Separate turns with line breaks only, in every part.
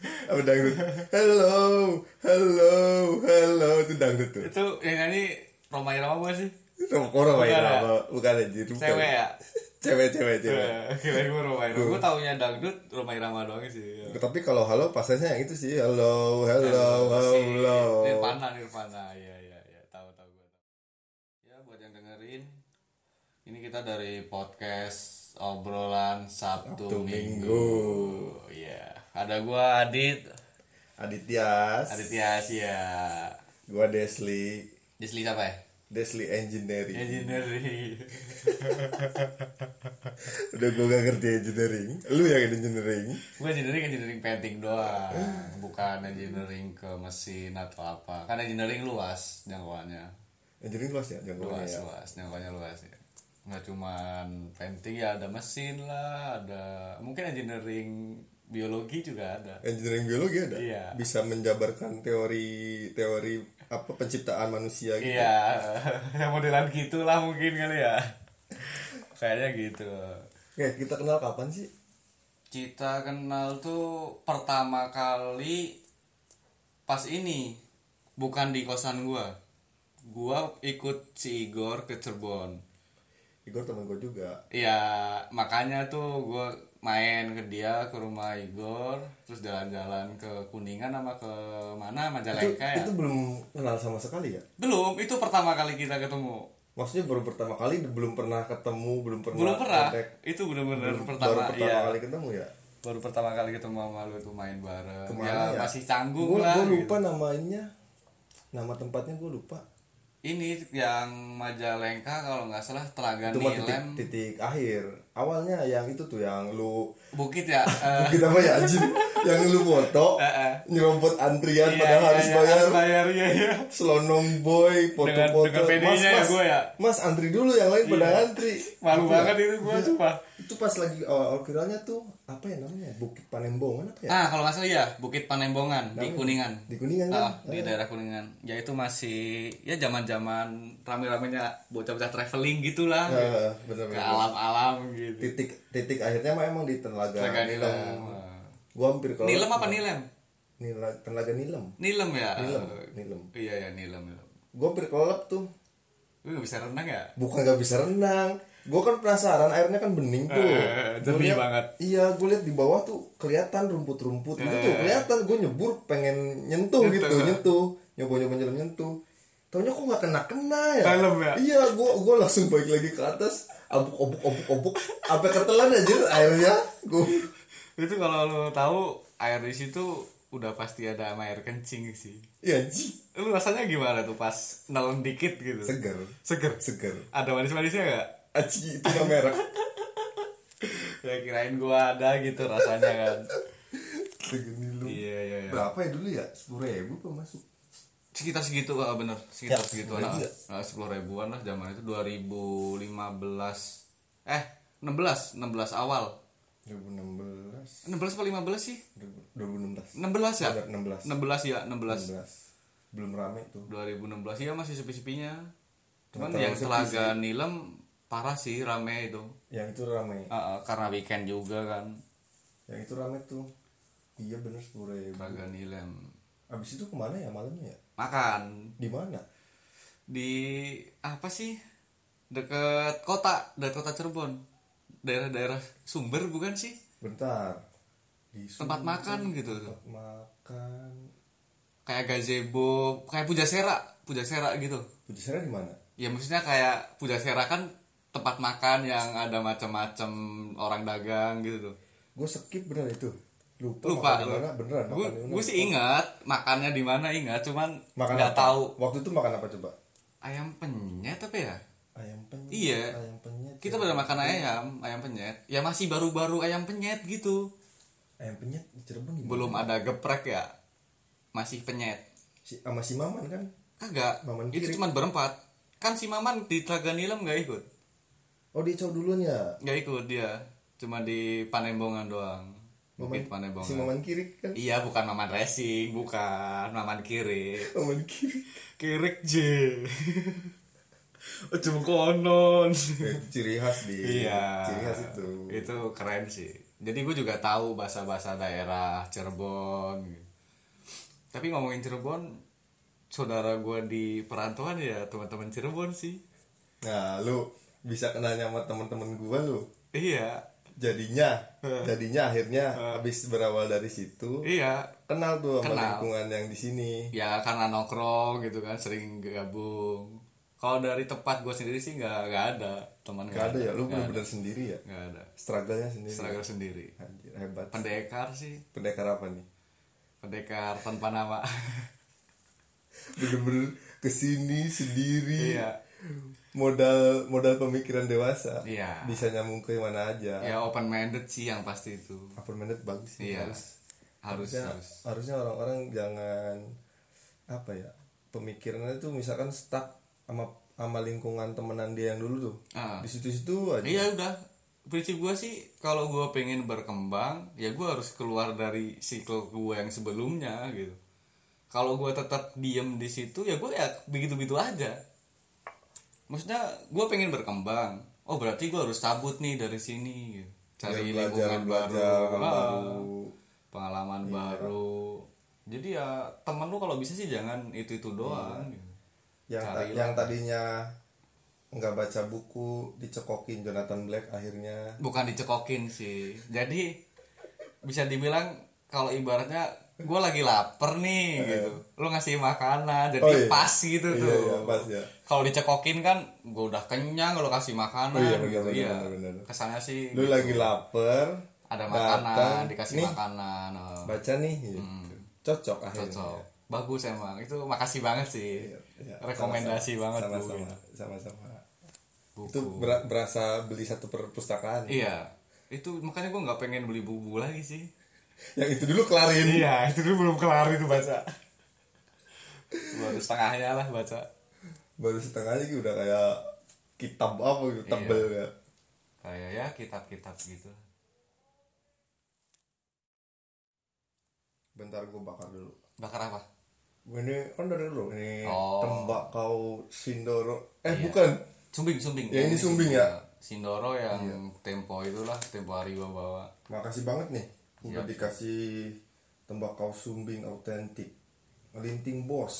apa dangdut hello hello hello itu dangdut tuh
itu yang nyanyi Roma Irama bukan sih
sama koro
Bukan ya?
bukan anjir bukan.
cewek ya
cewek cewek cewek
Eh, kira gue Roma Irama gue taunya dangdut Roma Irama doang sih Iya.
tapi kalau halo pasarnya yang itu sih hello hello
Si
hello
Iya, Nirvana Nirvana ya ya ya tahu tahu gue tahu ya buat yang dengerin ini kita dari podcast obrolan Sabtu,
Sabtu
Minggu ya ada gua Adit
Adityas
Aditya Asia
gua Desli
Disli siapa ya
Desli engineering
Iya. engineering
udah gua gak ngerti engineering lu yang engineering
gue engineering engineering painting doang bukan engineering ke mesin atau apa karena engineering luas jangkauannya
engineering luas ya jangkauannya
luas
ya
luas jangkauannya luas ya nggak cuman painting ya ada mesin lah ada mungkin engineering biologi juga ada
engineering biologi ada
Iya.
bisa menjabarkan teori teori apa penciptaan manusia gitu
iya yang modelan gitulah mungkin kali ya kayaknya gitu
Oke, Eh, kita kenal kapan sih
kita kenal tuh pertama kali pas ini bukan di kosan gua gua ikut si Igor ke Cirebon
Igor teman gue juga
Iya, makanya tuh gue main ke dia ke rumah Igor, terus jalan-jalan ke Kuningan sama ke mana
itu,
Majalengka ya.
itu belum kenal sama sekali ya
Belum, itu pertama kali kita ketemu.
maksudnya baru pertama kali belum pernah ketemu belum pernah
Belum pernah.
kontak.
Itu bener-bener
baru
pertama,
pertama
iya.
kali ketemu ya
Baru pertama kali ketemu sama lu tuh main bareng.
Kemana
ya,
ya?
masih canggung
gue
lah.
gue
gitu.
lupa namanya nama tempatnya gue lupa
Ini yang Majalengka kalau nggak salah Telaga
itu mah titik,
Nilem,
titik akhir awalnya yang itu tuh yang lu
Bukit ya. eh,
kita apa ya anjing yang lu foto
eh.
nyerompot antrian
iya,
padahal
iya,
harus
iya,
bayar
harus bayar, iya, iya.
selonong boy
Dengan-
foto-foto
dengan
mas
PD-nya ya
mas
gua ya. Iya.
mas antri dulu yang lain pada antri
Malu banget itu gue cuma.
itu pas lagi awal viralnya tuh apa ya namanya bukit panembongan apa ya
Ah, kalau nggak salah ya Bukit Panembongan di Kuningan.
di kuningan kan
Ah, di daerah Kuningan. Ya itu masih ya zaman-zaman rame-ramenya bocah-bocah traveling gitulah.
Eh,
Ke
bener-bener
alam-alam gitu.
titik titik akhirnya mah emang di telaga
Telaga
nilem
Nilem.
gua hampir kalau
Nilem apa Nilem?
Nila- telaga nilem
Nilem ya.
nilem nilem
Iya ya Nilem. Nilem.
gua hampir kelelep tuh
Lu nggak bisa renang ya?
bukan gak bisa renang gua kan penasaran airnya kan bening tuh
Eh,
Gua
jernih
liat-
banget. Eh.
iya gue lihat di bawah tuh kelihatan rumput-rumput gitu tuh kelihatan gue nyebur pengen nyentuh gitu nyentuh nyoba-nyoba nyelam nyentuh taunya kok gak kena-kena ya
Dalam ya?
iya gue gue langsung balik lagi ke atas abuk obuk obuk obuk sampai ketelan aja airnya gue
Itu kalau lu tahu air di situ udah pasti ada sama air kencing sih.
ya ji
Lu rasanya gimana tuh pas nelen dikit gitu?
seger
Seger.
seger
Ada manis-manisnya nggak?
aji itu gak merah
Ya kirain gua ada gitu rasanya kan.
seger nilu
Iya iya iya.
berapa ya dulu ya sepuluh ribu pemasuk
Sekitar segitu ah, bener sekitar
Ya,
segitu
sepuluh
nah,
ribu ya?
sepuluh ribuan lah zaman itu 2015 eh 16 16 awal
2016
16 apa 15 sih
2016
16 ya
16
16 ya 16
16. belum rame tuh
2016 ya masih sepi-sepinya cuman
Nggak tahu
yang
sepi
telaga nilem parah sih rame itu
yang itu rame
Ah, ah, karena weekend juga kan
yang itu rame tuh iya bener sepuluh
telaga nilem
abis itu kemana ya malamnya ya
makan
di mana
di apa sih deket kota dari kota Cirebon daerah-daerah Sumber bukan sih
bentar di Su-
tempat makan gitu
tempat makan
kayak gazebo kayak pujasera pujasera gitu
Pujasera di mana
ya maksudnya kayak pujasera kan tempat makan yang ada macam-macam orang dagang gitu tuh
gue skip bener itu lupa,
lupa
makan di mana beneran
gue
makan di mana.
gue sih ingat makannya di mana ingat cuman
makan
nggak
apa?
tahu
waktu itu makan apa coba
ayam penyet apa ya
ayam penyet
Iya.
ayam penyet
kita
ya.
pada makan ayam ayam penyet ya masih baru-baru ayam penyet gitu
ayam penyet di Cirebon di
belum ada geprek ya masih penyet
si, sama si Maman kan
kagak
Maman
itu
kiri.
cuma berempat kan si maman di telaga nilem nggak ikut
oh dia cowok duluan ya
nggak ikut dia cuma di panembongan doang bukit panembongan
si Maman kiri kan
iya bukan maman racing bukan maman kiri
Maman kiri
kirek j ujung konon
Oh, Ya, itu ciri khas di
iya
ciri khas itu
itu Iya. keren sih jadi gue juga tahu bahasa-bahasa daerah Cirebon gitu. tapi ngomongin Cirebon saudara gue di perantauan ya teman-teman Cirebon sih
Nah, lu bisa kenalnya sama temen-temen gua lu.
iya
Jadinya, jadinya akhirnya habis berawal dari situ
iya
kenal tuh sama
Kenal.
lingkungan yang di sini.
ya karena nongkrong gitu kan sering gabung kalau dari tempat gue sendiri sih nggak nggak ada teman
Gak ada ya, lu
nggak ada.
bener-bener sendiri ya.
nggak ada
Struggle-nya sendiri.
seragam sendiri
Anjir, hebat.
pendekar sih
Pendekar apa nih?
pendekar tanpa nama
Bener-bener kesini sendiri.
iya
Modal modal pemikiran dewasa.
Iya.
Bisa nyambung ke mana aja.
ya open minded sih yang pasti itu
Upper minded bagus sih.
iya
Harus
harus
harusnya
harus
harusnya orang-orang jangan apa ya pemikirannya tuh misalkan stuck sama sama lingkungan temenan dia yang dulu tuh
Ah.
di situ-situ aja
Iya udah prinsip gue sih kalau gue pengen berkembang ya gue harus keluar dari siklus gue yang sebelumnya gitu. Kalau gue tetap diem di situ ya gue ya begitu-begitu aja. Maksudnya gue pengen berkembang. Oh berarti gue harus cabut nih dari sini. Gitu. Cari
Dia Iya, belajar
lingkungan
belajar
baru,
orang
ah,
baru
pengalaman
Iya.
baru. Jadi ya temen lu kalau bisa sih jangan itu itu doang.
Iya,
gitu.
yang ta-
Carilah.
yang tadinya nggak baca buku dicekokin Jonathan Black akhirnya
bukan dicekokin sih jadi bisa dibilang kalau ibaratnya gue lagi lapar nih gitu lu ngasih makanan jadi
Iya. Oh, iya.
pas gitu
Iya,
tuh
iya, pas, ya.
kalau dicekokin kan gue udah kenyang lu kasih
Oh,
makanan
iya,
gitu
benar, benar,
iya
benar, benar.
kesannya sih
lu
gitu.
lagi lapar
ada
datang,
makanan dikasih
nih,
makanan oh,
baca nih gitu. cocok akhirnya
cocok bagus emang itu makasih banget sih
Iya, iya.
rekomendasi
Sama-sama.
banget
sama-sama
Bu.
sama-sama
Buku.
itu ber- berasa beli satu perpustakaan
iya itu makanya gue nggak pengen beli buku lagi sih
yang itu dulu kelarin
Iya, itu dulu belum kelar itu baca. Baru setengahnya lah baca.
baru setengah lagi udah kayak kitab apa
Iya.
gitu tebel ya
Kayak ya kitab-kitab gitu.
bentar gue bakar dulu
Bakar apa?
ini kan dari dulu ini
Oh. Iya.
tembakau sindoro eh bukan
Sumbing, sumbing.
Ya, ini sumbing ya? Iya.
Sindoro yang tempo itulah, tempo hari gua bawa.
makasih banget nih udah
Iya.
dikasih tembakau sumbing autentik linting bos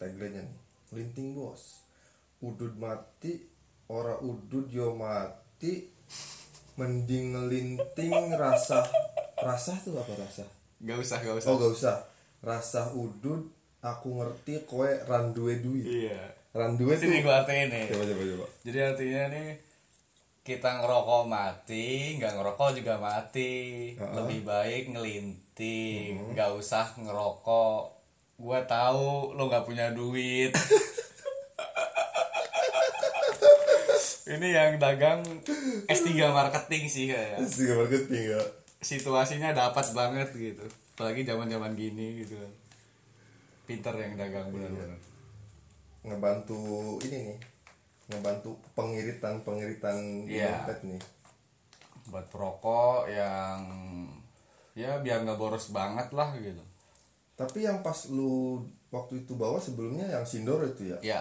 tagline nya nih linting bos udud mati ora udud yo mati mending linting rasa rasa tuh apa rasa
Gak usah, gak usah.
Oh gak usah Rasa udud Aku ngerti kowe randuwe duit
Iya.
Randuwe tuh
Sini gua artiin nih.
Coba coba coba
Jadi artinya nih kita ngerokok mati, nggak ngerokok juga mati. Lebih baik ngelinting, nggak usah ngerokok. Gua tahu lo nggak punya duit. Ini yang dagang S3 marketing sih kayak.
Terus juga marketing ya
Situasinya dapat banget gitu. Apalagi zaman-zaman gini gitu. Pinter yang dagang benar-benar.
Ngebantu ini nih Ngebantu pengiritan-pengiritan di
Iya.
dompet nih
buat perokok yang ya biar nggak boros banget lah gitu
Tapi yang pas lu waktu itu bawa sebelumnya yang sindor itu ya
ya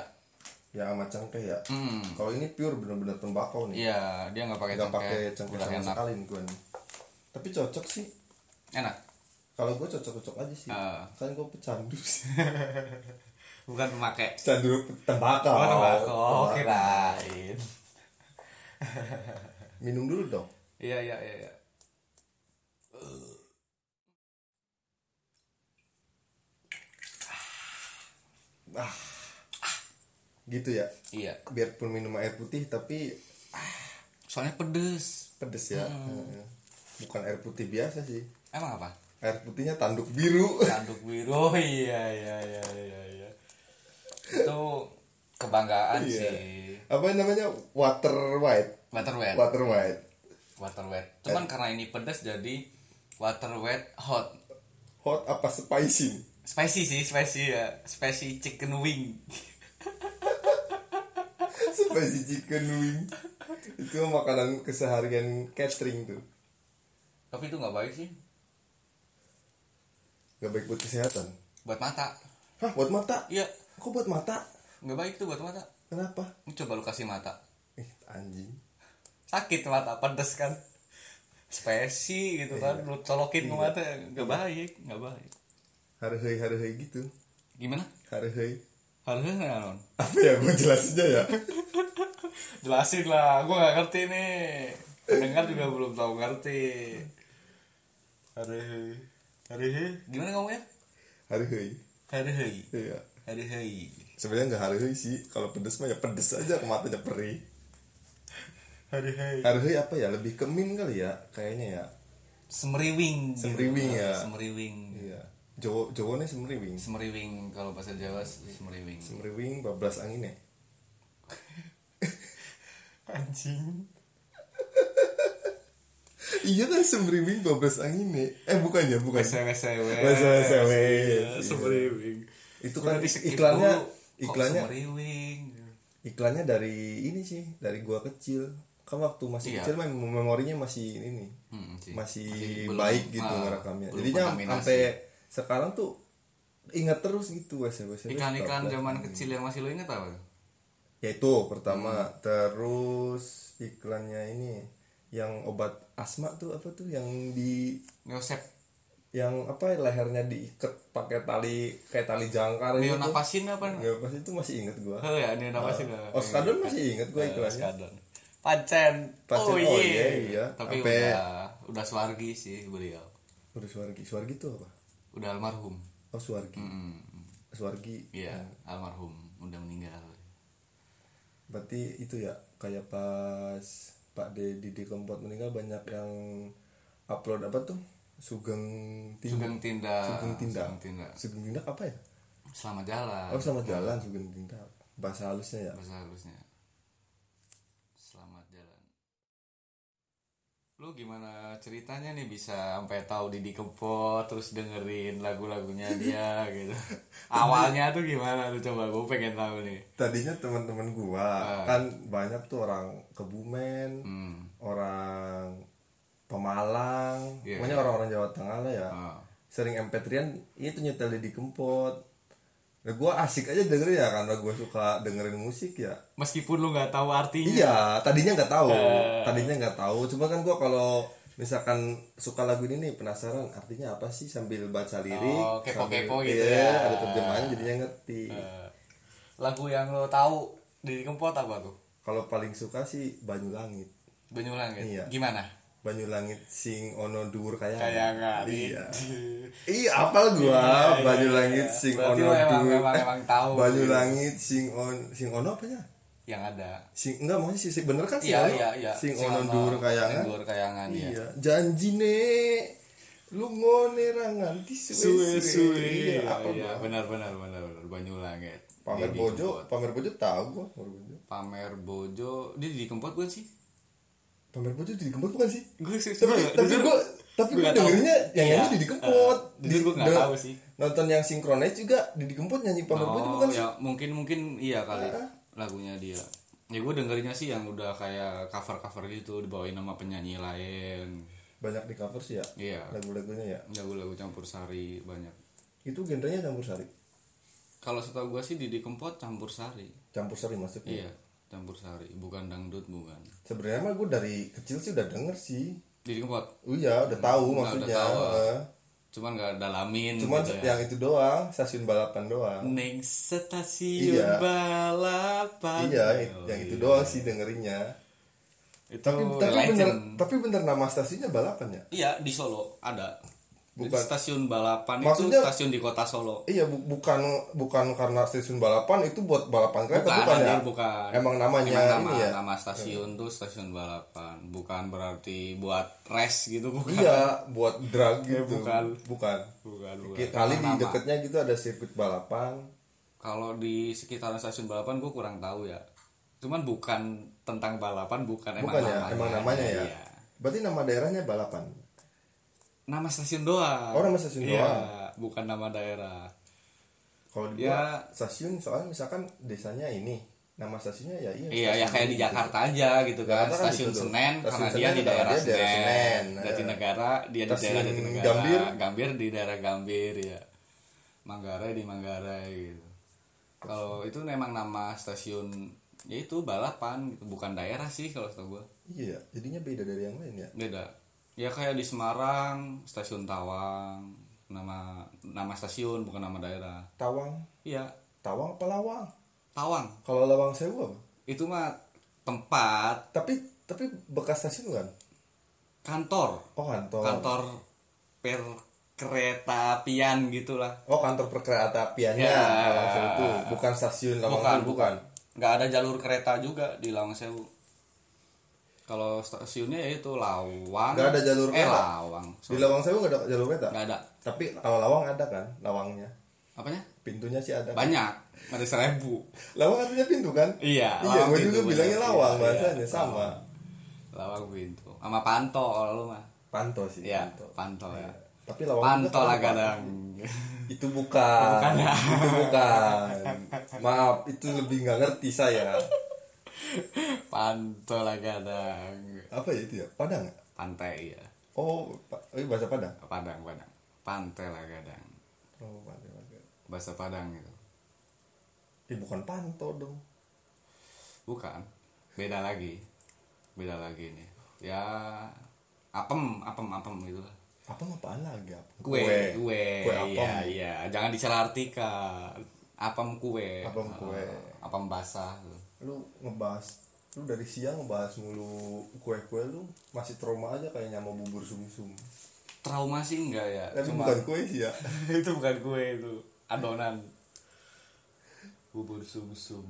Yang sama cengkeh ya
hmm
Kalau ini pure bener-bener tembakau nih
ya dia nggak pakai
Gak
cengkeh.
pakai cengkeh
Udah
sama
enak
sekali nih gue nih Tapi cocok sih
enak
Kalau gue cocok-cocok aja sih
Ah.
Kan gue pecandu sih
bukan pemakai
Pecandu tembakau
oh tembakau kirain
Minum dulu dong
iya iya iya iya.
gitu ya
iya
biarpun minum air putih tapi
soalnya pedes
pedes ya
Hmm.
Eh, bukan air putih biasa sih
emang apa
air putihnya tanduk biru
tanduk biru oh iya iya iya iya iya itu kebanggaan
Iya.
sih
apa namanya water white
water wet
water white
water wet cuman karena ini pedes jadi water wet hot
hot apa spicy nih?
Spicy sih, spicy ya. Spicy chicken wing.
spicy chicken wing itu makanan keseharian catering tuh
Tapi itu nggak baik sih
gak baik buat kesehatan
buat mata.
hah buat mata
Iya,
kok buat mata
nggak baik tuh buat mata.
kenapa
Ini Coba lu kasih mata.
eh anjing
Sakit mata, pedes kan. spesi gitu kan lu colokin ke mata nggak baik nggak baik
harhei harhei gitu
gimana
harhei
harusnya nggak non
apa ya gue jelasinnya ya
jelasin lah gue nggak ngerti nih pendengar juga belum tahu ngerti harusnya harusnya gimana ya? ngomongnya
harhei
harusnya
iya
harusnya
sebenarnya nggak harhei sih kalau pedes mah ya pedes aja ke matanya perih
harusnya
harhei apa ya lebih kemin kali ya kayaknya ya
semriwing gitu.
Semriwing ya.
semriwing
iya jowo jowone semriwing
semriwing kalau bahasa Jawa semriwing
semriwing bablas angin ya
anjing
iya kan semriwing bablas angin ya eh bukan ya bukan
wsw
WSW.
Iya, semriwing
Iya, itu kan
Udah di-skip
iklannya
dulu. Kok
iklannya
semriwing
iklannya dari ini sih dari gua kecil kan waktu masih
Iya.
kecil mem- memorinya masih ini nih
Hmm, sih.
masih,
belum-
baik gitu
ah,
ngerakamnya
belum
jadinya
kontaminasi.
sampai sekarang tuh ingat terus gitu wes wes
iklan-iklan zaman kecil yang masih lo inget apa
ya itu
Hmm.
pertama terus iklannya ini yang obat asma tuh apa tuh yang di
Yosep
yang apa lehernya diikat pakai tali kayak tali jangkar
Iya,
gitu
neonapasin apa
ya pas itu masih inget gua
oh ya neonapasin lah
Oskadon
Iya,
masih inget gua iklannya
Oskadon Pacen
Pacen, oh iya, iya.
tapi
Sampai-
udah udah swargi sih beliau
Udah Suwargi. Suwargi itu apa?
udah almarhum
Oh Suwargi.
Hmm,
Suwargi. Nah,
iya
Hmm.
almarhum udah meninggal
Berarti itu ya kayak pas Pak De Didi Kempot meninggal banyak yang upload apa tuh? Sugeng Tindak.
Sugeng Tindak
Sugeng Tindak.
Sugeng Iya. Tindak
Sugeng Tindak apa ya?
Selamat jalan
Oh sama jalan Sugeng Tindak. Bahasa halusnya ya.
Bahasa halusnya Selamat jalan Lu gimana ceritanya nih bisa sampai tahu Didi Kempot Terus dengerin lagu-lagunya dia gitu Awalnya tuh gimana lu coba gue pengen tahu nih
Tadinya teman-teman gua
Ah.
kan banyak tuh orang Kebumen,
hmm.
orang Pemalang,
Iya.
pokoknya orang-orang Jawa Tengah lah ya.
ah.
sering MP3an itu iya nyetel di kempot nah, gue asik aja dengerin ya karena gue suka dengerin musik ya
Meskipun lu nggak tahu artinya
iya tadinya nggak tahu
Eh.
tadinya nggak tahu cuma kan gue kalau misalkan suka lagu ini nih penasaran artinya apa sih sambil baca lirik
Oh, kepo-kepo
sambil-
gitu
iya,
ya.
ada terjemahan jadinya ngerti
Eh, Lagu yang lu tahu Didi Kempot apa tuh?
kalau paling suka sih Banyu Langit
Banyulang gitu?
Iya.
Gimana?
Banyu Langit sing ono dhuwur kayak
Kayak nggak
iya
di-
Iya, apal gua
Iya, iya,
Banyu
iya.
Langit sing
Berarti
ono
lo emang-
dhuwur.
emang- emang tahu.
Banyu Langit sing on sing ono apa ya?
Yang ada
sing enggak maksudnya sih sing- bener kan sih
Iya,
ono?
iya, iya.
sing
Sing
ono
ono,
dhuwur kayangan
sing dhuwur kayangan, iya.
iya janjine lu ngone ra nganti suwe suwe iya apa
iya,
Bang?
benar benar benar benar Banyulanget
pamer
Didi
bojo
Kempot.
pamer bojo tahu gua pamer bojo
pamer bojo dia di kempot bukan sih
pamer bojo di kempot bukan sih
gue sih
tapi tapi gua tapi gua dengerinnya yang nyanyi Didi Kempot
Iya. Eh, jujur gue nggak
Di-
tahu sih
nonton yang sinkronis juga Didi Kempot nyanyi pamer bojo
oh
bukan sih kan?
ya mungkin mungkin iya kali lagunya dia ya gue dengerinnya sih yang udah kayak cover cover gitu dibawain nama penyanyi lain
banyak di cover sih ya
iya
lagu-lagunya ya
lagu-lagu campur sari banyak
itu genrenya campur sari
kalau setahu gue sih Didi Kempot campur sari
campur sari maksudnya
iya campur sari bukan dangdut bukan
sebenarnya mah gue dari kecil sih udah denger sih
Didi Kempot
Oh iya, udah tahu
udah
maksudnya.
tahu.
Heeh.
cuman nggak dalamin
Cuman
gitu ya.
yang itu doang, stasiun balapan doang.
Neng stasiun
Iya.
balapan.
iya,
Oh,
yang itu
iya.
doang sih dengerinnya.
Itu
Tapi tapi
legend.
bener, tapi bener nama stasiunnya balapan ya?
Iya, di Solo ada. Jadi
Bukan.
stasiun balapan
Maksudnya-
itu stasiun di kota Solo.
Iya, bu- bukan bukan karena stasiun balapan itu buat balapan kereta bukan,
Bukan,
ya?
anjir, bukan.
Emang namanya
Emang nama,
ini ya.
nama stasiun tuh stasiun balapan, bukan berarti buat res gitu bukan.
Iya, buat drag gitu.
Eh, bukan.
Bukan.
Bukan, bukan.
Kali di
Nama.
dekatnya gitu ada sirkuit balapan.
Kalau di sekitaran stasiun balapan gue kurang tahu ya. Cuman bukan tentang balapan, bukan,
Bukan ya, emang namanya ya.
Iya.
Berarti nama daerahnya balapan.
Nama stasiun doang.
Oh, nama stasiun
Iya,
doang.
bukan nama daerah.
Kalau di
Ya.
stasiun soalnya misalkan desanya ini, nama stasiunnya ya iya.
Iya, ya
stasiun
kayak di
ini.
Jakarta aja gitu kan.
Jakarta kan
Stasiun
gitu tuh.
Senen
Stasiun
karena
Senen
dia di
karena
daerah
dia daerah
Senen,
Senen. eh.
Jatinegara dia di
Stasiun
daerah Jatinegara,
Gambir.
Gambir di daerah Gambir ya. Manggarai di Manggarai gitu. Kalau itu memang nama stasiun ya itu balapan gitu. bukan daerah sih kalau setahu gua.
Iya, jadinya beda dari yang lain ya.
Beda. ya kayak di Semarang stasiun Tawang nama nama stasiun bukan nama daerah
Tawang
iya
Tawang apa Lawang
Tawang
kalau Lawang Sewu apa?
itu mah tempat
tapi tapi bekas stasiun kan
kantor
oh kantor
kantor per kereta apian gitulah
oh kantor perkereta apiannya
Ya.
Lawang Sewu itu bukan stasiun Lawang
Bukan,
Sewu, bukan
nggak ada jalur kereta juga di Lawang Sewu kalau stasiunnya ya itu Lawang
Nggak ada jalur
eh,
kereta.
Lawang
di Lawang Sewu nggak ada jalur kereta
nggak ada
tapi kalau Lawang ada kan Lawangnya
apanya
pintunya sih ada kan?
banyak ada seribu
Lawang artinya pintu kan
Iya,
iya
lawang
gue
pintu
juga
bener.
bilangnya Lawang
Iya,
bahasanya
iya,
sama
Lawang pintu sama panto kalau lu mah
Panto sih
Iya,
Panto.
panto ya.
tapi Lawang
Panto
juga
lah
kan?
kadang.
itu bukan,
Bukan ya?
itu bukan maaf itu lebih nggak ngerti saya
Panto lah kadang.
apa ya itu ya Padang ya?
Pantai ya.
oh pa- eh, bahasa Padang
Padang, Padang. Pantai lah kadang.
oh Padang Padang.
Bahasa Padang gitu.
eh bukan Panto dong
Bukan. Beda lagi. Beda lagi ini. Ya apem, apem, apem gitu lah.
apa apaan lagi apa
Kue, kue,
kue apem
iya, iya. Jangan disalah artikan. Apem kue.
Apem kue.
Eh, Apem basah. gitu.
lu ngebahas lu dari siang ngebahas mulu kue-kue lu masih trauma aja kayaknya mau bubur sumsum
Trauma sih enggak ya.
tapi
Cuma-
bukan kue sih ya
itu bukan kue itu adonan bubur sumsum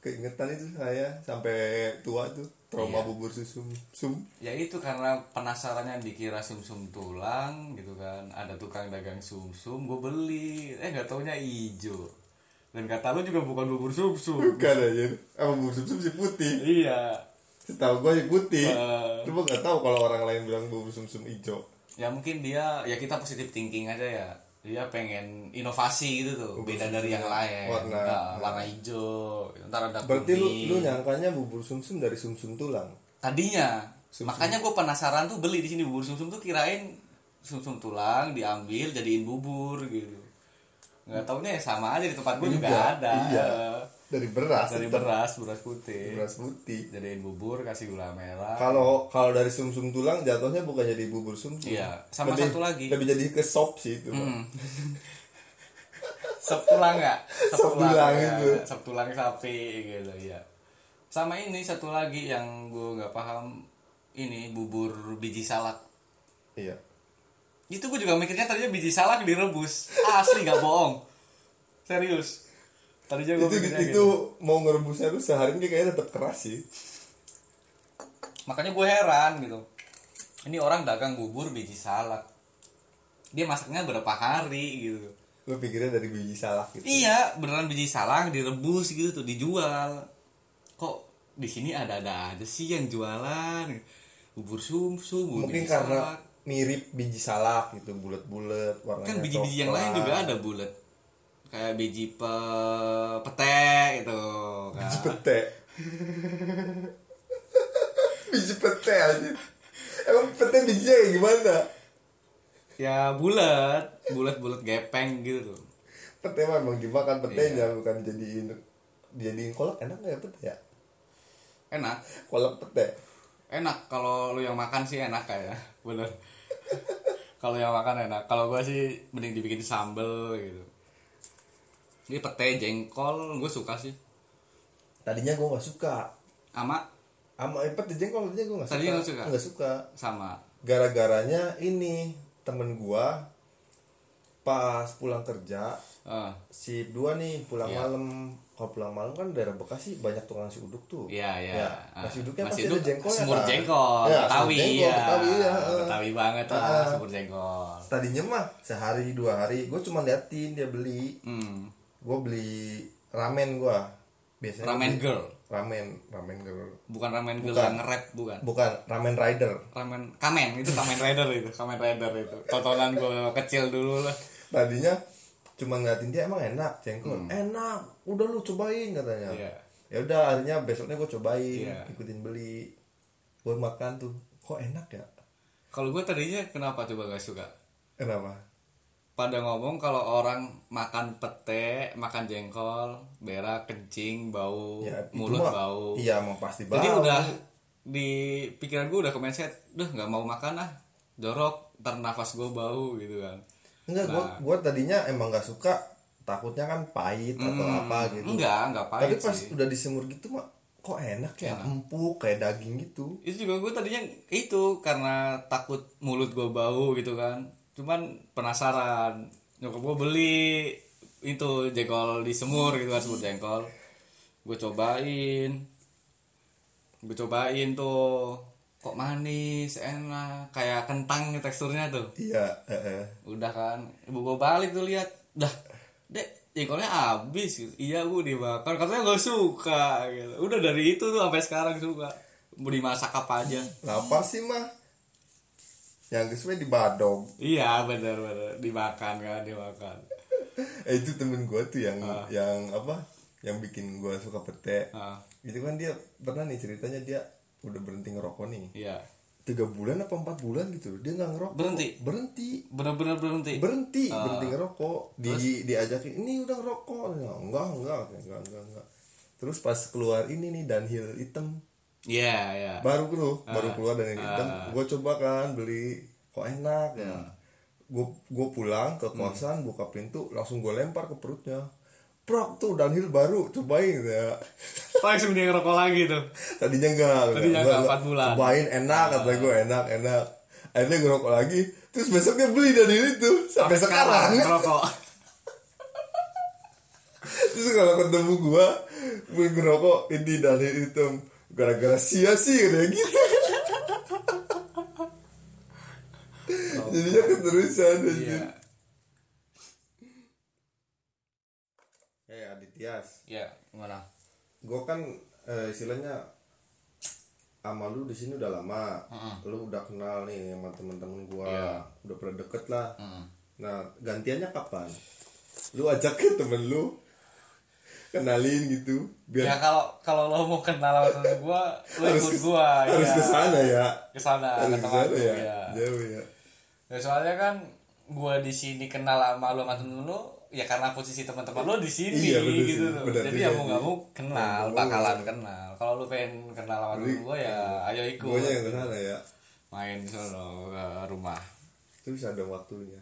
keingetan itu saya sampai tua tuh trauma
Iya.
bubur susum sum
ya itu karena penasarannya dikira sumsum tulang gitu kan ada tukang dagang sumsum gue beli eh nggak taunya ijo dan kata lu juga bukan bubur sumsum
bukan aja apa bubur sumsum sih putih
iya
setahu gue sih putih
Eh.
cuma nggak tahu kalau orang lain bilang bubur sumsum hijau
ya mungkin dia ya kita positive thinking aja ya dia pengen inovasi gitu tuh
Bubur
beda dari
sumsum.
yang lain
Warna.
Nah, warna hijau ntar ada
berarti lu
kuning.
lu nyangkanya bubur sumsum dari sumsum tulang
tadinya
Sumsum.
makanya gue penasaran tuh beli di sini bubur sumsum tuh kirain sumsum tulang diambil jadiin bubur gitu nggak taunya ya sama aja di tempat gue juga
Enggak,
ada
Hmm. iya. dari beras
dari
tetap.
beras beras putih
beras putih
jadiin bubur kasih gula merah
kalau kalau dari sumsum tulang jatuhnya bukan jadi bubur sumsum
Iya, sama
Lebih-
satu lagi.
lebih jadi ke sop sih itu Pak.
sop tulang nggak
Sop tulang
ya,
itu.
sop tulang sapi gitu ya sama ini satu lagi yang gue nggak paham ini bubur biji salak
iya
itu gue juga mikirnya tadinya biji salak direbus asli nggak bohong serius tadinya gue
itu itu
mikirnya
itu mau ngerebusnya lu sehari ini kayaknya tetap keras sih
gitu. makanya gue heran gitu ini orang dagang bubur biji salak dia masaknya berapa hari gitu
lu pikirnya dari biji salak gitu
iya beneran biji salak direbus gitu tuh dijual kok di sini ada-ada aja sih yang jualan bubur sumsum bubur
mungkin
biji
karena
salak.
mirip biji salak gitu bulat-bulat warnanya
kan biji-biji yang lain
coklat.
juga ada bulat kayak biji pe pete gitu kan.
biji pete biji pete aja emang pete bijinya kayak gimana
ya bulat bulat bulat gepeng gitu tuh
pete mah emang dimakan
Iya.
petenya bukan dijadiin dijadiin kolak enak nggak ya pete ya
enak
kolak pete
enak kalau lu yang makan sih enak ya. kayak bener kalau yang makan enak kalau gua sih mending dibikin sambel gitu ini pete jengkol gue suka sih
tadinya gue nggak suka
sama
sama eh, pete jengkol tadinya gue nggak suka
Tadinya nggak suka?
nggak suka
sama
gara-garanya ini temen gue pas pulang kerja
eh
si dua nih pulang
Iya.
malam kalau pulang malam kan daerah Bekasi banyak tukang nasi uduk tuh Ya,
Iya, iya. Ah,
nasi uduknya
nasi
pasti
uduk
ada jengkol ya,
semur jengkol, Betawi,
jengkol,
iya.
Betawi, iya, eh.
Betawi banget lah,
Ah.
semur jengkol.
tadinya mah sehari dua hari gue cuma liatin dia beli
Hmm.
gue beli ramen gue biasanya
Ramen
beli-
girl,
ramen ramen girl
bukan ramen girl
Bukan.
yang nge-rap, bukan.
bukan ramen rider
Ramen Kamen itu Kamen Rider itu, Kamen Rider itu. Tontonan gua kecil dulu lah.
tadinya cuma ngeliatin dia emang enak jengkol enak udah lu cobain katanya
Hmm. Iya.
ya udah akhirnya besoknya gue cobain
Iya.
ikutin beli gue makan tuh kok enak ya Eh,
Kalau gua tadinya kenapa coba gak suka?
kenapa
Pada ngomong kalau orang makan pete, makan jengkol, berak, kencing, bau,
ya itu
mulut
mah-
bau.
iya mau pasti bau
Jadi udah di pikiran gue udah kemenset, udah nggak mau makan ah, jorok ntar nafas gue bau gitu kan
Enggak, gua, gua tadinya emang gak suka takutnya kan pahit atau apa gitu.
enggak enggak
Tapi
Hmm, pahit
pas
sih Iya.
udah disemur gitu mah kok enak ya, empuk kayak daging gitu.
itu juga gue tadinya itu karena takut mulut gue bau gitu kan cuman penasaran nyokap gue beli itu jengkol disemur gitu kan semur jengkol gue cobain gue cobain tuh kok manis enak kayak kentang teksturnya tuh
Iya, heeh.
udah kan ibu gue balik tuh lihat dah dek jengkolnya habis gitu. iya bu dibakar katanya gak suka gitu udah dari itu tuh sampai sekarang suka mau dimasak apa aja
Apa sih mah? Yang kesini di Badog.
iya benar benar dimakan kan dimakan
Eh, itu temen gua tuh yang yang apa? Yang bikin gua suka pete.
ah
Itu kan dia pernah nih ceritanya dia udah berhenti ngerokok nih.
iya
Tiga bulan apa empat bulan gitu. Dia nggak ngerokok.
Berhenti?
Berhenti.
benar-benar berhenti
berhenti berhenti ngerokok di diajakin ini udah ngerokok Ya, enggak enggak enggak enggak enggak terus pas keluar ini nih Dunhill hitam
iya iya
baru tuh baru keluar Dunhill hitam
Ah.
gue coba kan beli kok enak ya
Hmm.
gue gue pulang ke kosan buka pintu langsung gue lempar ke perutnya Prok tuh Dunhill baru cobain ya
langsung dia ngerokok lagi tuh
tadinya enggak
Tadinya
Gua-
enggak,
gua
empat bulan. Ah.
cobain enak kata gue enak enak akhirnya ngerokok lagi terus besoknya beli Dunhill itu sampai sekarang
ngerokok
Terus kalau ketemu gua Gue ngerokok ini dalil hitam Gara-gara sia sih kayak gitu Jadinya keterusan
Oh. iya
anjir Eh Aditias
iya gimana
Gue kan eh, istilahnya sama lu di sini udah lama, lu udah kenal nih sama temen-temen gua,
Iya.
udah pernah deket lah. Nah gantiannya kapan? Lu ajakin temen lu, kenalin gitu, biar
ya kalau kalau lo mau kenal sama gue lo
Harus
ikut
ke-
gue
harus
iya.
ke sana ya
kesana
harus
ke
ke
tempat
sana
gua,
ya
iya.
jauh ya
Ya soalnya kan gua di sini kenal sama lu sama temen lu ya karena posisi teman-teman lu di sini
Iya, bener
gitu
sih,
loh.
bener,
Jadi
iya,
ya mau nggak
iya.
mau kenal,
Mau nggak mau
bakalan kenal. Kalau lu pengen kenal sama temen gua ya ayo ikut.
guanya yang ke sana ya
Main di sono ke rumah.
itu bisa ada waktunya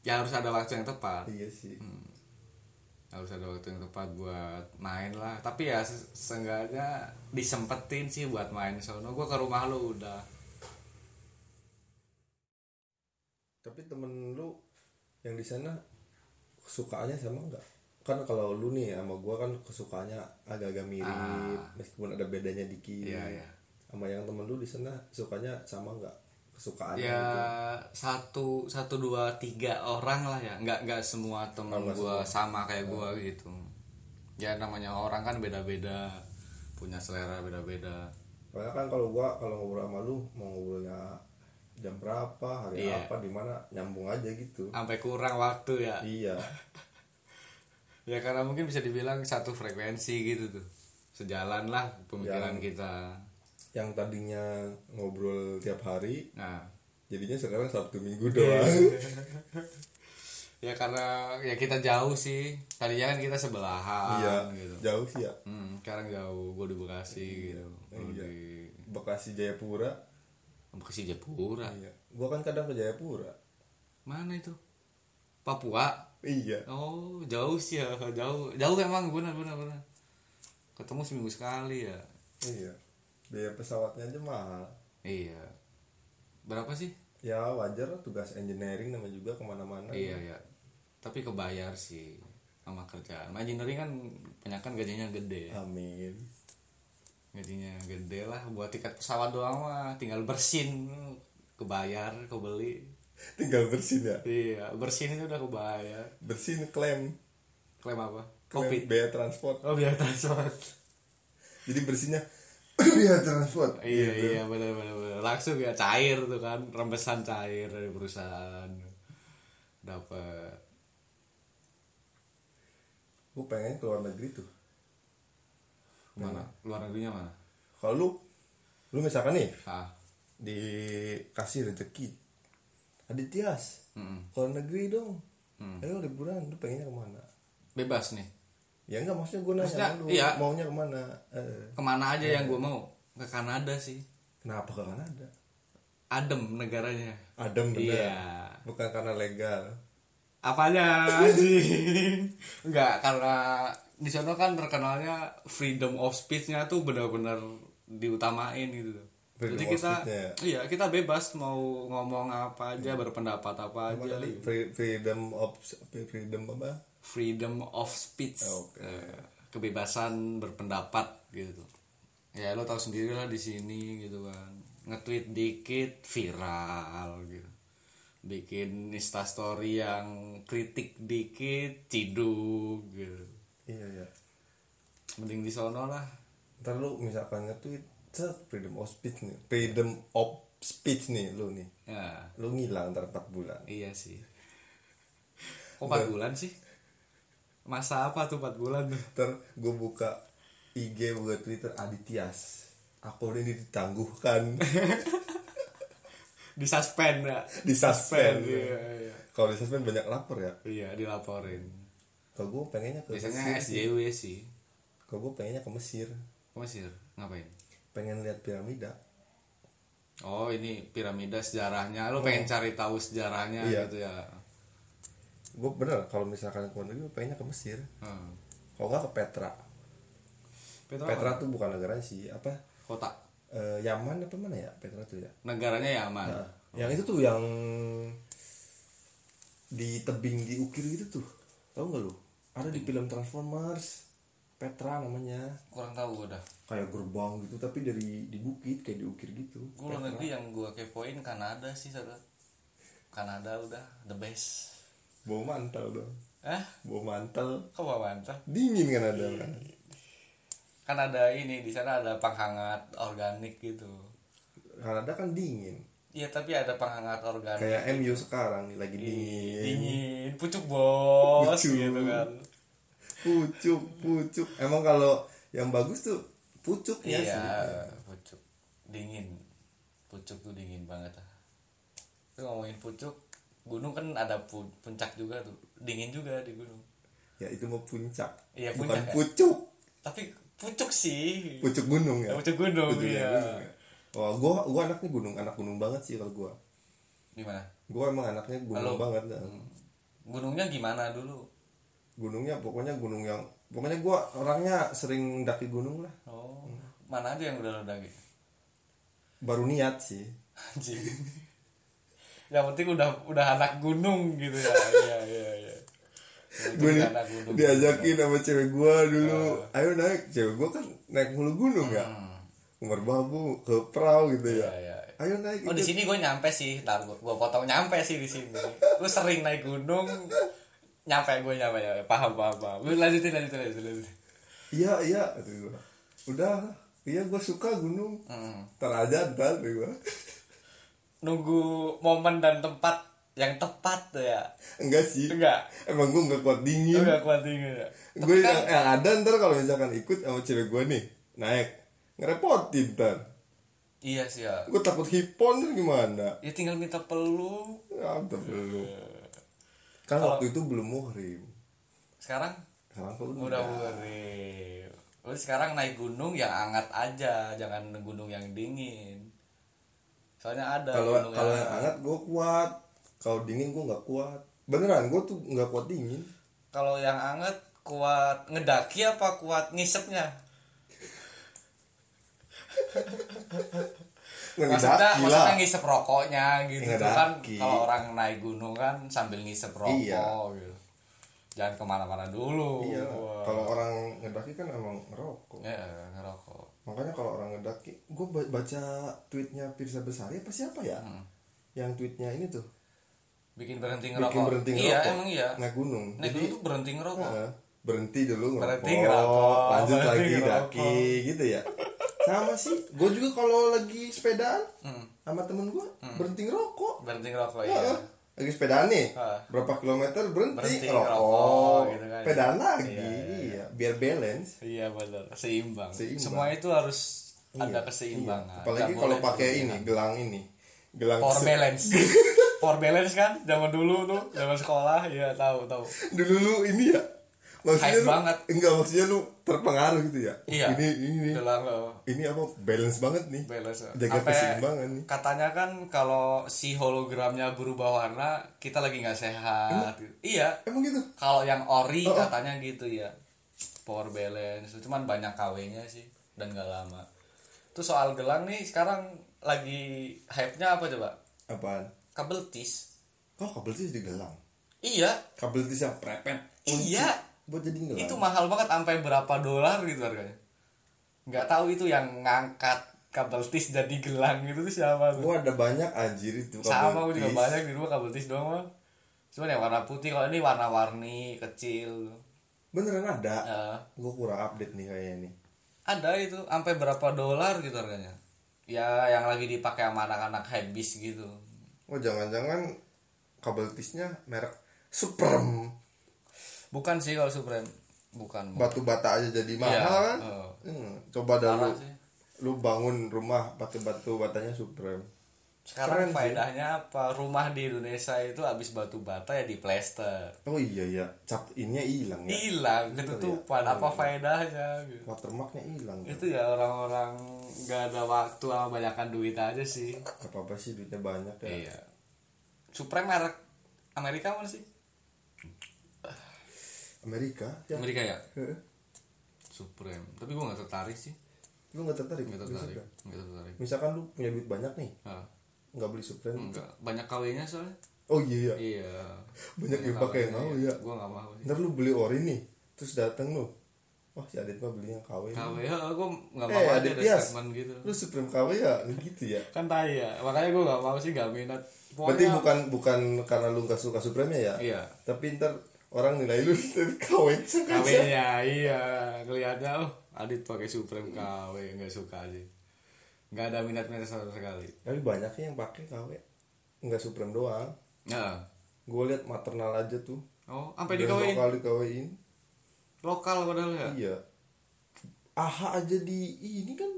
Ya harus ada waktu yang tepat.
iya sih
Hmm. Harus ada waktu yang tepat buat main lah. Tapi ya se- seenggaknya disempetin sih buat main di sono. Gua ke rumah lu udah.
tapi temen lu yang di sana kesukaannya sama nggak kan kalau lu nih sama gua kan kesukaannya agak-agak mirip meskipun ada bedanya dikit
Ah. Iya, iya.
sama yang temen lu di sana sukanya sama nggak kesukaannya
ya
gitu.
satu satu dua tiga orang lah ya nggak nggak semua temen
nggak Hmm.
gua sama kayak gua gitu ya namanya orang kan beda beda punya selera beda beda
Soalnya kan kalau gua kalau ngobrol sama lu mau ngobrolnya jam berapa hari
Iya. Ah.
apa di mana nyambung aja gitu
sampai kurang waktu ya
iya
ya karena mungkin bisa dibilang satu frekuensi gitu tuh sejalan lah pemikiran
Iya.
kita
yang tadinya ngobrol tiap hari
nah
jadinya sekarang sabtu
Iya,
minggu doang
ya karena ya kita jauh sih tadinya kan kita sebelahan
iya
gitu
jauh sih ya
Hmm, sekarang jauh gue di Bekasi gitu Lu
Iya.
di
bekasi jayapura
Bekasi Jayapura
iya gua kan kadang ke jayapura
Mana itu? Papua.
iya
Oh, jauh sih ya, jauh. Jauh emang benar benar benar. Ketemu seminggu sekali ya.
iya biaya pesawatnya aja mahal
Iya. Berapa sih?
ya wajar lah tugas engineering nama juga kemana-mana
Iya ya. Tapi kebayar sih sama kerjaan. Engineering kan banyak kan gajinya gede.
amin
Gajinya gede lah buat tiket pesawat doang mah tinggal bersin kebayar, kebeli.
tinggal bersin ya
Iya, bersin itu udah kebayar.
bersin klaim
Klaim apa?
klaim
Kopi.
biaya transport
Oh, biar transport.
jadi bersinnya biaya transport
Iya iya benar benar benar. langsung ya cair tuh kan rembesan cair dari perusahaan dapat
gua pengen ke luar negeri tuh
mana luar negerinya mana
kalau lu lu misalkan nih
ah
dikasih rezeki Aditias
mm-mm.
kalau negeri dong
Hmm.
ayo liburan lu pengennya kemana
bebas nih
ya enggak maksudnya gue nanya
Maksudnya,
lu
iya.
maunya kemana Eh,
kemana aja yang gue mau ke Kanada sih
kenapa ke Kanada
adem negaranya
adem bener
Iya.
bukan karena legal
apanya anjing nggak karena di sana kan terkenalnya freedom of speech-nya tuh benar-benar diutamain gitu
Freedom
jadi
of
kita
speech-nya ya?
iya kita bebas mau ngomong apa aja berpendapat apa
apa
aja
tadi Free- freedom of freedom apa
freedom of speech
Oke.
Eh, kebebasan berpendapat gitu ya lo tahu sendiri lah di sini gitu kan nge-tweet dikit viral gitu bikin instastory yang kritik dikit ciduk gitu
iya ya
mending di sono lah
ntar lu misalkan nge-tweet set, freedom of speech nih freedom of speech nih lu nih
ya
lu ngilang ntar 4 bulan
iya sih kok 4 bulan sih masa apa tuh 4 bulan tuh
ntar gue buka IG buka Twitter Aditias akun ini ditangguhkan
di suspend ya
disuspend
iya iya
kalau disuspend banyak lapor ya
iya dilaporin
kalau gue pengennya ke
biasanya
Mesir
SJW sih
kalau gue pengennya ke Mesir
ke Mesir ngapain
pengen lihat piramida
oh ini piramida sejarahnya lo pengen cari tahu sejarahnya
Iya.
gitu ya
gue bener kalau misalkan ke luar negeri gua pengennya ke Mesir
hmm.
kalau nggak ke Petra
Petra,
Petra
apa?
tuh bukan negara sih apa
kota
eh, Yaman apa mana ya Petra tuh ya
negaranya Yaman
Nah, yang itu tuh yang di tebing diukir gitu tuh tau nggak lu ada di film Transformers Petra namanya
kurang tahu gue dah
kayak gerbang gitu tapi dari di bukit kayak diukir gitu
gue luar negeri yang gue kepoin Kanada sih saudara Kanada udah the best
bawa mantel dong
eh
bawa mantel
kok bawa mantap
dingin kan ada kan
kan ada ini di sana ada penghangat organik gitu
Kanada kan dingin
iya tapi ada penghangat organik
kayak MU sekarang nih lagi dingin
Iya. dingin pucuk bos
Pucuk.
gitu kan
pucuk pucuk emang kalau yang bagus tuh pucuknya
iya,
sih
pucuk dingin. Pucuk tuh dingin banget ah. Itu ngomongin pucuk, gunung kan ada pu- puncak juga tuh. Dingin juga di gunung.
ya itu mau puncak
Iya,
bukan
puncak ya.
pucuk
Tapi pucuk sih.
pucuk gunung ya
Ya, pucuk gunung
Pucuk
iya.
gunung ya. Wah, gua gua anaknya gunung, anak gunung banget sih kalau gua.
Gimana?
Gua emang anaknya gunung
Halo. Hmm.
banget.
Gunungnya gimana dulu?
Gunungnya pokoknya gunung yang pokoknya gua orangnya sering daki gunung lah.
Oh, mana aja yang udah lo daki?
Baru niat sih.
Anjing. Yang penting udah udah anak gunung gitu ya. Iya, iya, iya. Yang
Gua
penting udah
nih
anak gunung. Iya,
diajakin sama cewek gua
Oh.
dulu, ayo naik. Cewek gua kan naik mulu gunung ya. Umar Babu ke perahu gitu ya.
Hmm. Iya, iya, iya.
Ayo naik. gitu.
Oh di
ikut.
sini gue nyampe sih, ntar gue potong nyampe sih di sini. Lu sering naik gunung, nyampe gue nyampe ya, paham paham paham. Lu lanjutin lanjutin lanjutin. lanjutin.
Iya, iya kata gua. Udah, iya gua suka gunung.
Hmm.
Ntar aja ntar kata gua.
Nunggu momen dan tempat yang tepat tuh ya.
Enggak sih.
Enggak,
Emang gua enggak kuat dingin.
enggak kuat dingin ya.
gue yang, yang ada ntar kalau misalkan ikut sama cewek gue nih naik ngerepotin ntar
Iya sih ya.
gue takut hipon ntar gimana
Ya tinggal minta peluk.
ya ntar dulu
Iya.
kan waktu itu belum muhrim
Sekarang
sekarang ya? kalau udah
udah boleh. Lu sekarang naik gunung yang hangat aja, jangan gunung yang dingin. Soalnya ada
kalau
Iya, gunung ya.
kalau
yang
yang hangat gue kuat kalau dingin gue nggak kuat beneran gue tuh nggak kuat dingin
Kalau yang anget kuat ngedaki apa kuat ngisepnya? Maksudnya,
ngedaki lah
maksudnya ngisep rokoknya gitu
Ngedaki.
kan kalau orang naik gunung kan sambil ngisep rokok
Iya.
gitu. Jangan kemana-mana dulu.
iya
Wah.
kalau orang ngedaki kan emang ngerokok
Ya, ngerokok.
makanya kalau orang ngedaki gue baca tweetnya Pirsa Besari apa siapa ya
Hmm.
yang tweetnya ini tuh
Bikin berhenti ngerokok.
bikin berhenti
Iya,
ngerokok
emang iya.
naik gunung
Naik
jadi Iya.
gunung tuh berhenti ngerokok.
Heeh, berhenti dulu ngerokok,
Berhenti ngerokok,
lanjut
berhenti
lagi
ngerokok.
daki gitu ya sama sih gue juga kalau lagi sepedaan
Hmm.
sama temen gue berhenti ngerokok
Berhenti ngerokok iya.
Heeh. lagi sepedaan nih
Heeh.
berapa kilometer berhenti,
Berhenti
ngerokok,
ngerokok, gitu kan.
sepedaan lagi
Iya, iya,
iya. biar balance
Iya benar, seimbang.
Seimbang.
Semua itu harus ada
Iya,
keseimbangan.
iya. apalagi
Nggak
kalau
boleh kan.
pakai
berlebihan.
ini gelang ini gelang
Power
se-
balance. Power balance kan zaman dulu tuh, zaman sekolah, ya Iya, tahu tahu.
dulu lu ini ya maksudnya
Hype
lu-
banget.
enggak maksudnya lu terpengaruh gitu ya
Iya.
ini ini nih,
Udah lah lo.
ini apa balance banget nih
balance.
jaga
Sampai
keseimbangan nih
Katanya kan kalau si hologramnya berubah warna, kita lagi nggak sehat. gitu. Iya.
emang gitu
Kalau yang ori
Oh, oh.
katanya gitu ya. Power balance. Cuman banyak KW-nya sih dan nggak lama. Terus soal gelang nih sekarang lagi hype-nya apa coba?
apaan
Kabel tis.
kok kabel tis jadi gelang
Iya,
kabel tis yang prepet kunci.
iya.
buat jadi gelang
Itu mahal banget sampai berapa dolar gitu harganya. Nggak tahu itu yang ngangkat kabel tis jadi gelang itu tuh siapa tuh?
gua ada banyak anjir itu Oh, kabel
sama gue juga
tis.
banyak di rumah kabel tis doang mah cuman yang warna putih kalau ini warna-warni kecil
beneran ada
Eh,
gua kurang update nih kayaknya nih
ada itu sampai berapa dolar gitu harganya ya yang lagi dipakai sama anak-anak habis gitu
oh jangan-jangan kabel tisnya merek Suprem
bukan sih kalau Supreme bukan
batu bata aja jadi mahal
Iya,
kan
eh.
Hmm, coba dah lu
Parah sih.
lu bangun rumah pakai batu batanya Supreme Keren
sekarang
sih.
faedahnya apa rumah di Indonesia itu habis batu bata ya di plester
oh iya iya cap ininya hilang ya Iya,
hilang ketutupan apa faedahnya gitu.
watermarknya hilang kan?
itu ya orang-orang gak ada waktu sama banyakan duit aja sih
apa apa sih duitnya banyak ya
Iya. Supreme merek Amerika mana sih?
Amerika ya
Amerika ya.
Heeh.
Supreme. Tapi gue nggak tertarik sih.
lu nggak tertarik
Nggak
beli
tertarik.
Supreme?
Nggak tertarik.
misalkan lu punya duit banyak nih
Hah.
nggak beli Supreme
Nggak. Banyak kawinnya soalnya.
oh iya, iya.
Iya.
Banyak yang pakai yang mau, ya.
Gue iya. nggak mau sih.
ntar lu beli ori nih terus dateng lu wah si Adit mah belinya KW
KW ya, gue nggak
Eh,
mau aja
Adit
ada
Tias.
statement gitu.
lu Supreme KW ya gitu ya
Kan tai ya. Makanya gue nggak mau sih, nggak minat.
berarti bukan bukan karena lu nggak suka Supreme ya
Iya.
tapi ntar orang nilai lu dari KW aja.
KW-nya iya kelihatannya oh Adit pakai Supreme KW nggak suka aja nggak ada minat minat sama sekali
tapi banyak sih yang pakai KW nggak Supreme doang
nah
gue liat maternal aja tuh
oh sampai di
Brand
KW
lokal di KW-in
lokal padahal ya
iya AHA aja di ini kan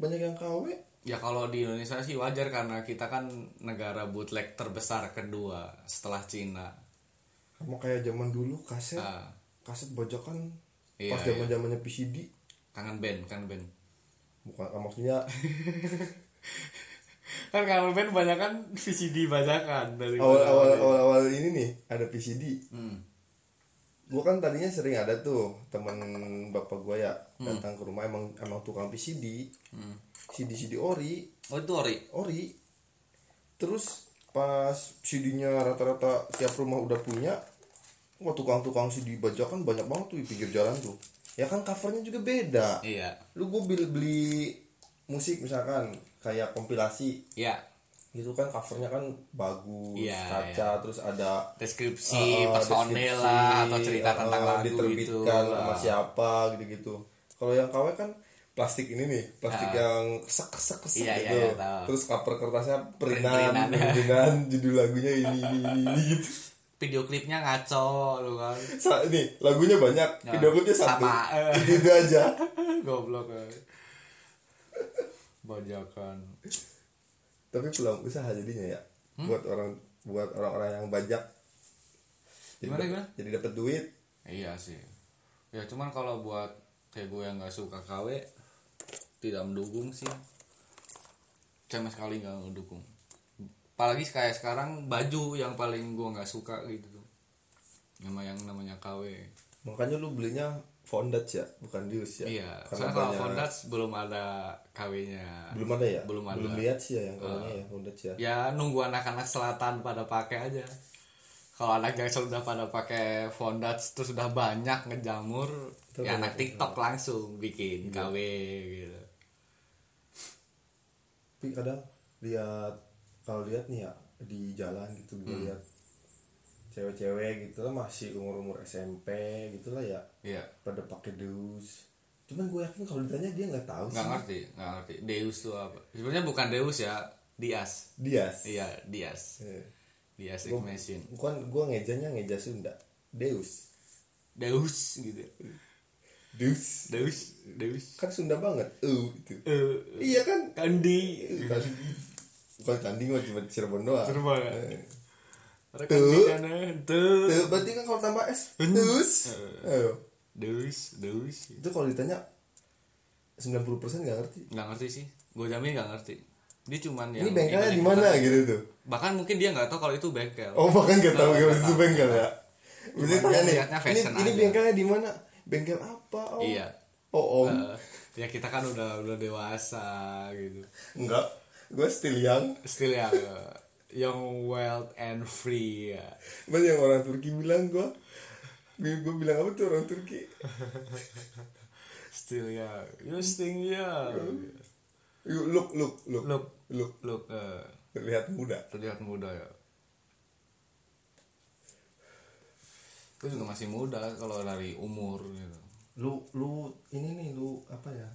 banyak yang KW
Ya kalau di Indonesia sih wajar karena kita kan negara bootleg terbesar kedua setelah Cina.
sama kayak zaman dulu kaset
Ah,
kaset bajakan
Iya,
pas zaman zamannya PCD
kangen band, kangen band.
bukan ah, maksudnya
Kan kangen band banyak kan VCD bajakan dari
awal awal
Iya.
awal awal ini nih ada PCD
Hmm.
gua kan tadinya sering ada tuh temen bapak gua ya datang ke rumah emang emang tukang PCD
hmm.
CD CD ori
Oh itu ori.
ori terus pas CD-nya rata-rata tiap rumah udah punya wah tukang-tukang CD bajakan kan banyak banget tuh di pinggir jalan tuh ya kan covernya juga beda
Iya.
lu gue beli beli musik misalkan kayak kompilasi
Iya.
gitu kan covernya kan bagus
Iya,
kaca terus ada
Deskripsi
uh,
personel
deskripsi,
lah atau cerita
uh,
tentang lagu gitu. Ah. itu.
diterbitkan sama siapa gitu-gitu kalau yang KW kan plastik ini nih plastik yang kesek kesek kesek
Iya, iya,
gitu
iya, tahu.
terus cover kertasnya perinan
Print-printan.
perinan judul lagunya ini ini ini, ini gitu
Video klipnya ngaco lu kan.
Sa- ini lagunya banyak
Ya,
video klipnya satu
sama, eh.
itu, itu aja
Goblok. eh. Bajakan.
tapi peluang usaha jadinya ya
Hmm?
buat orang buat orang-orang yang bajak jadi
Gimana,
dap-
gimana?
jadi dapat duit
Iya sih. Ya cuman kalau buat kayak gue yang nggak suka KW tidak mendukung sih. Sama sekali nggak mendukung. Apalagi kayak sekarang baju yang paling gue nggak suka gitu tuh. Nama yang namanya KW.
makanya lu belinya Fondage ya bukan Deals ya
Iya.
karena
Soalnya kalau
banyak-
Fondats belum ada KW-nya.
belum ada ya
Belum ada. Ah.
lihat sih ya yang kalanya ya Fondage ya
Ya nunggu anak-anak selatan pada pakai aja. Kalau anak Jaksel udah pada pakai fondats terus sudah banyak ngejamur,
Itu
ya
banyak
anak TikTok langsung bikin KW gitu.
tapi kadang lihat kalau lihat nih ya di jalan gitu
Hmm.
gue lihat cewek-cewek gitu lah masih umur-umur SMP gitu lah ya
Iya,
pada pakai Deus cuman gue yakin kalau ditanya dia nggak tahu
nggak
sih
ngerti, nggak ngerti. Deus tuh apa? Sebenarnya bukan Deus ya, Dias.
Dias
Iya, Dias.
Eh.
Dias Ignition.
bukan gue ngejanya ngeja Sunda Deus
Deus gitu.
Deus
Deus, Deus.
kan Sunda banget uh itu
Eh,
iya kan
Kandi.
Kan- bukan tanding mah cuma Cirebon doang
Coba.
Eh.
Rekan di sana. Tuh.
Eh, berarti kan kalau tambah S Deus
Eh.
Ayo.
deus deus
itu kalau ditanya 90% nggak ngerti
nggak ngerti sih gue jamin nggak ngerti dia cuman yang
ini bengkelnya di
ikut-ikutan.
mana gitu tuh
bahkan mungkin dia nggak tahu kalau itu bengkel Nah,
oh bahkan nggak tahu
Nggak,
gimana
nggak
itu
tahu.
bengkel ya Maksudnya
Cuma
tanya nih
lihatnya
ini,
fashion
ini
aja."
bengkelnya di mana bengkel apa om
iya
oh om
Eh, ya kita kan udah udah dewasa gitu
enggak gue still young
still yang eh, young wild and free ya.
Cuman yang orang Turki bilang gue gue gue bilang apa tuh orang Turki
still young you still young
You look look look
look
look
look eh,
terlihat muda
terlihat muda ya gue juga masih muda kalau dari umur gitu
lu lu ini nih lu apa ya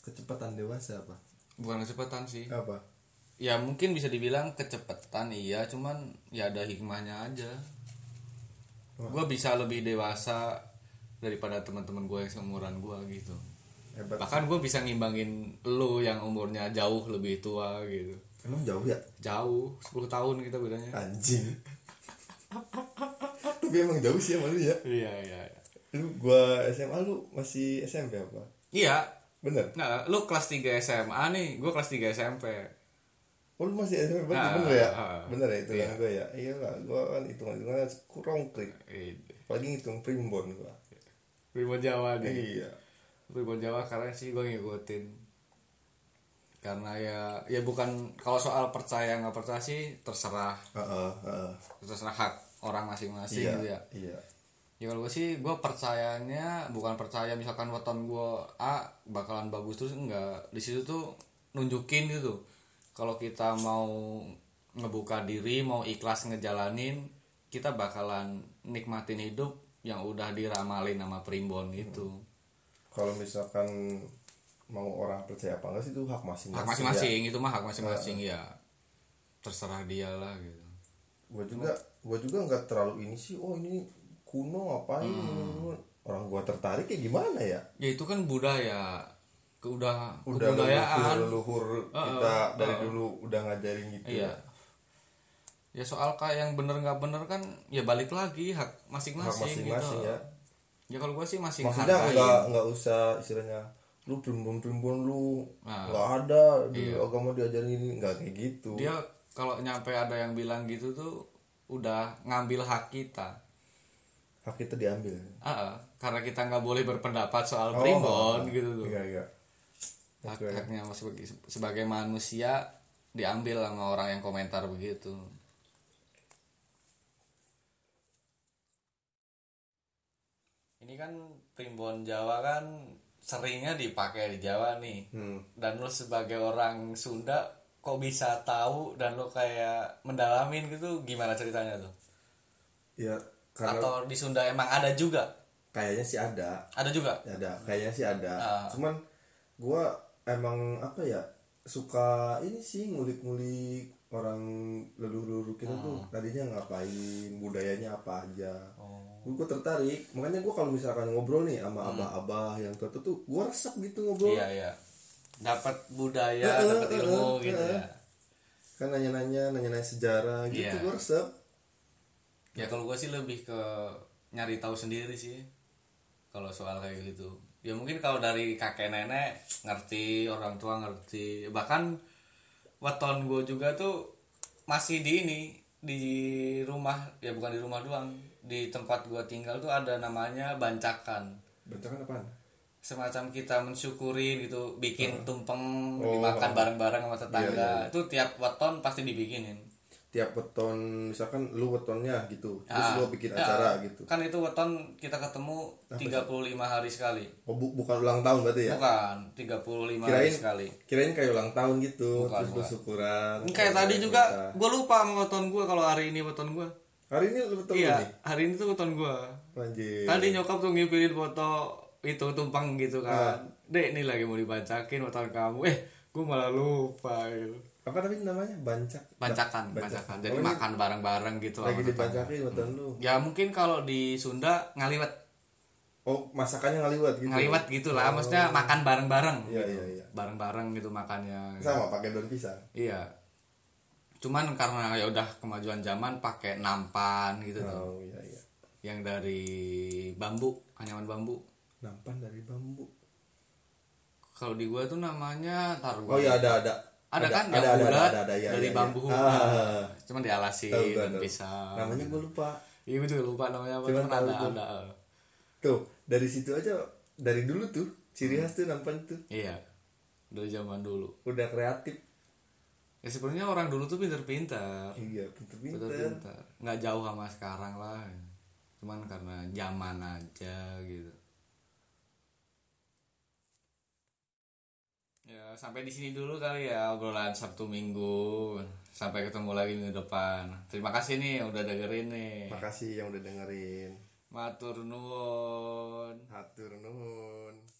kecepatan dewasa apa
bukan kecepatan sih
apa
ya mungkin bisa dibilang kecepatan iya cuman ya ada hikmahnya aja gue bisa lebih dewasa daripada teman-teman gue yang seumuran gue gitu
hebat
bahkan gue bisa ngimbangin lo yang umurnya jauh lebih tua gitu
emang jauh ya
jauh 10 tahun kita bedanya
anjing tapi emang jauh sih sama lu ya
iya iya iya.
lu gua SMA lu masih SMP apa
iya
bener
nah lo kelas 3 SMA nih gue kelas 3 SMP
oh lu masih SMP bener,
Ah,
bener ya
ah,
bener ya itu
iya.
yang gua ya iya lah gua kan hitungan hitungan kurang krik
Eh,
apalagi hitung primbon gua
Primbon Jawa gitu. nih
iya
Primbon Jawa karena sih gue ngikutin karena ya ya bukan kalau soal percaya nggak percaya sih terserah
Heeh, heeh.
terserah hak orang masing-masing
iya
gitu ya
iya
ya kalau gue sih gue percayanya bukan percaya misalkan weton gue A bakalan bagus terus enggak di situ tuh nunjukin gitu kalau kita mau ngebuka diri mau ikhlas ngejalanin kita bakalan nikmatin hidup yang udah diramalin sama primbon gitu. itu
kalau misalkan mau orang percaya apa enggak sih itu hak masing-masing ya.
hak masing-masing itu mah hak masing-masing ya terserah dia lah gitu
gue juga gue juga nggak terlalu ini sih oh ini kuno ngapain
Hmm.
orang gua tertarik ya gimana ya
ya itu kan budaya ke udah
udah
kebudayaan
leluhur kita dari dulu udah ngajarin gitu
Iya. Ya soal kayak yang bener nggak bener kan ya balik lagi hak
hak
masing-masing
masing-masing
gitu.
ya
Ya kalau gua sih masih
maksudnya
menghargai.
nggak nggak usah istilahnya lu primbon primbon lu
Nah. Iya.
nggak ada di agama diajarin ini nggak kayak gitu
Dia kalau nyampe ada yang bilang gitu tuh udah ngambil hak kita.
hak kita diambil
Ah, ah. karena kita nggak boleh berpendapat soal primbon gitu tuh.
Oh, iya iya
Hak haknya sebagai sebagai manusia diambil sama orang yang komentar begitu. Ini kan primbon Jawa kan seringnya dipakai di Jawa nih.
hmm.
Dan lo sebagai orang Sunda kok bisa tahu dan lo kayak mendalamin gitu gimana ceritanya tuh?
ya karena
Atau di Sunda emang ada juga?
kayaknya sih ada Ya,
Ada juga.
ada kayaknya sih ada
Ah.
cuman gua emang apa ya suka ini sih ngulik-ngulik orang leluhur kita tuh
Ah.
tadinya ngapain budayanya apa aja
Oh.
Gua gue tertarik makanya gua kalau misalkan ngobrol nih sama abah-abah yang tua tuh gua resep gitu ngobrol
Hmm. Iya iya. Dapat budaya,
Heeh,
dapat ilmu
heeh,
gitu
heeh.
ya.
kan nanya-nanya nanya-nanya sejarah gitu
Iya.
gua resep
Ya kalau gue sih lebih ke nyari tahu sendiri sih kalau soal kayak gitu. Ya mungkin kalau dari kakek nenek ngerti, orang tua ngerti. Bahkan weton gue juga tuh masih di ini di rumah ya bukan di rumah doang di tempat gue tinggal tuh ada namanya bancakan
bentukan apaan
semacam kita mensyukuri gitu bikin tumpeng dimakan bareng-bareng sama tetangga itu tiap weton pasti dibikinin
tiap weton misalkan lu wetonnya gitu terus
Ah.
lu bikin
Ya,
acara gitu
kan itu weton kita ketemu 35 hari sekali
oh, bu- bukan ulang tahun berarti ya
bukan 35 hari
Kirain-
sekali
kirain kayak ulang tahun gitu
Bukan,
terus lu
bukan.
syukuran
kayak
Terus
tadi
lu
juga
minta.
gue lupa sama weton gue kalau hari ini weton gue
hari ini lu betul
iya
nih Iya,
hari ini tuh weton gue
anjir
tadi nyokap tuh ngipilin foto itu tumpang gitu
Ah.
kan dek nih lagi mau dibacakin weton kamu eh gue malah lupa gitu
apa tadi namanya bancak
bancakan bancakan jadi makan bareng-bareng gitu
Oh, lagi
sama tetangga.
dibancakin weton lu
ya mungkin kalau di Sunda ngaliwat
oh masakannya ngaliwat gitu
Hmm. ngaliwat gitu lah maksudnya makan bareng-bareng
iya
gitu.
iya iya
bareng-bareng gitu makannya
sama pakai daun pisang
Iya. Cuman karena ya udah kemajuan zaman pakai nampan gitu tuh.
oh iya iya
yang dari bambu anyaman bambu
nampan dari bambu
kalau di gua tuh namanya taruh
oh iya ada ada
ada, kan
ada
yang
ada ada
bulat
ada, ada, iya,
dari
iya, iya.
bambu
Ah,
Nah, cuman
tahu,
dialasin
tahu,
dan
tahu.
pisang
namanya gue lupa
iya gua juga lupa namanya apa
Cuman
cuman ada
tahu gua.
ada
tuh dari situ aja dari dulu tuh ciri khas tuh nampan tuh
iya dari zaman dulu
udah kreatif
ya sebenarnya orang dulu tuh pinter-pinter
iya pinter-pinter
pinter-pinter nggak jauh sama sekarang lah cuman karena zaman aja gitu ya sampai di sini dulu kali ya obrolan Sabtu Minggu sampai ketemu lagi minggu depan terima kasih nih udah dengerin nih
makasih yang udah dengerin
matur nuwun
hatur nuhun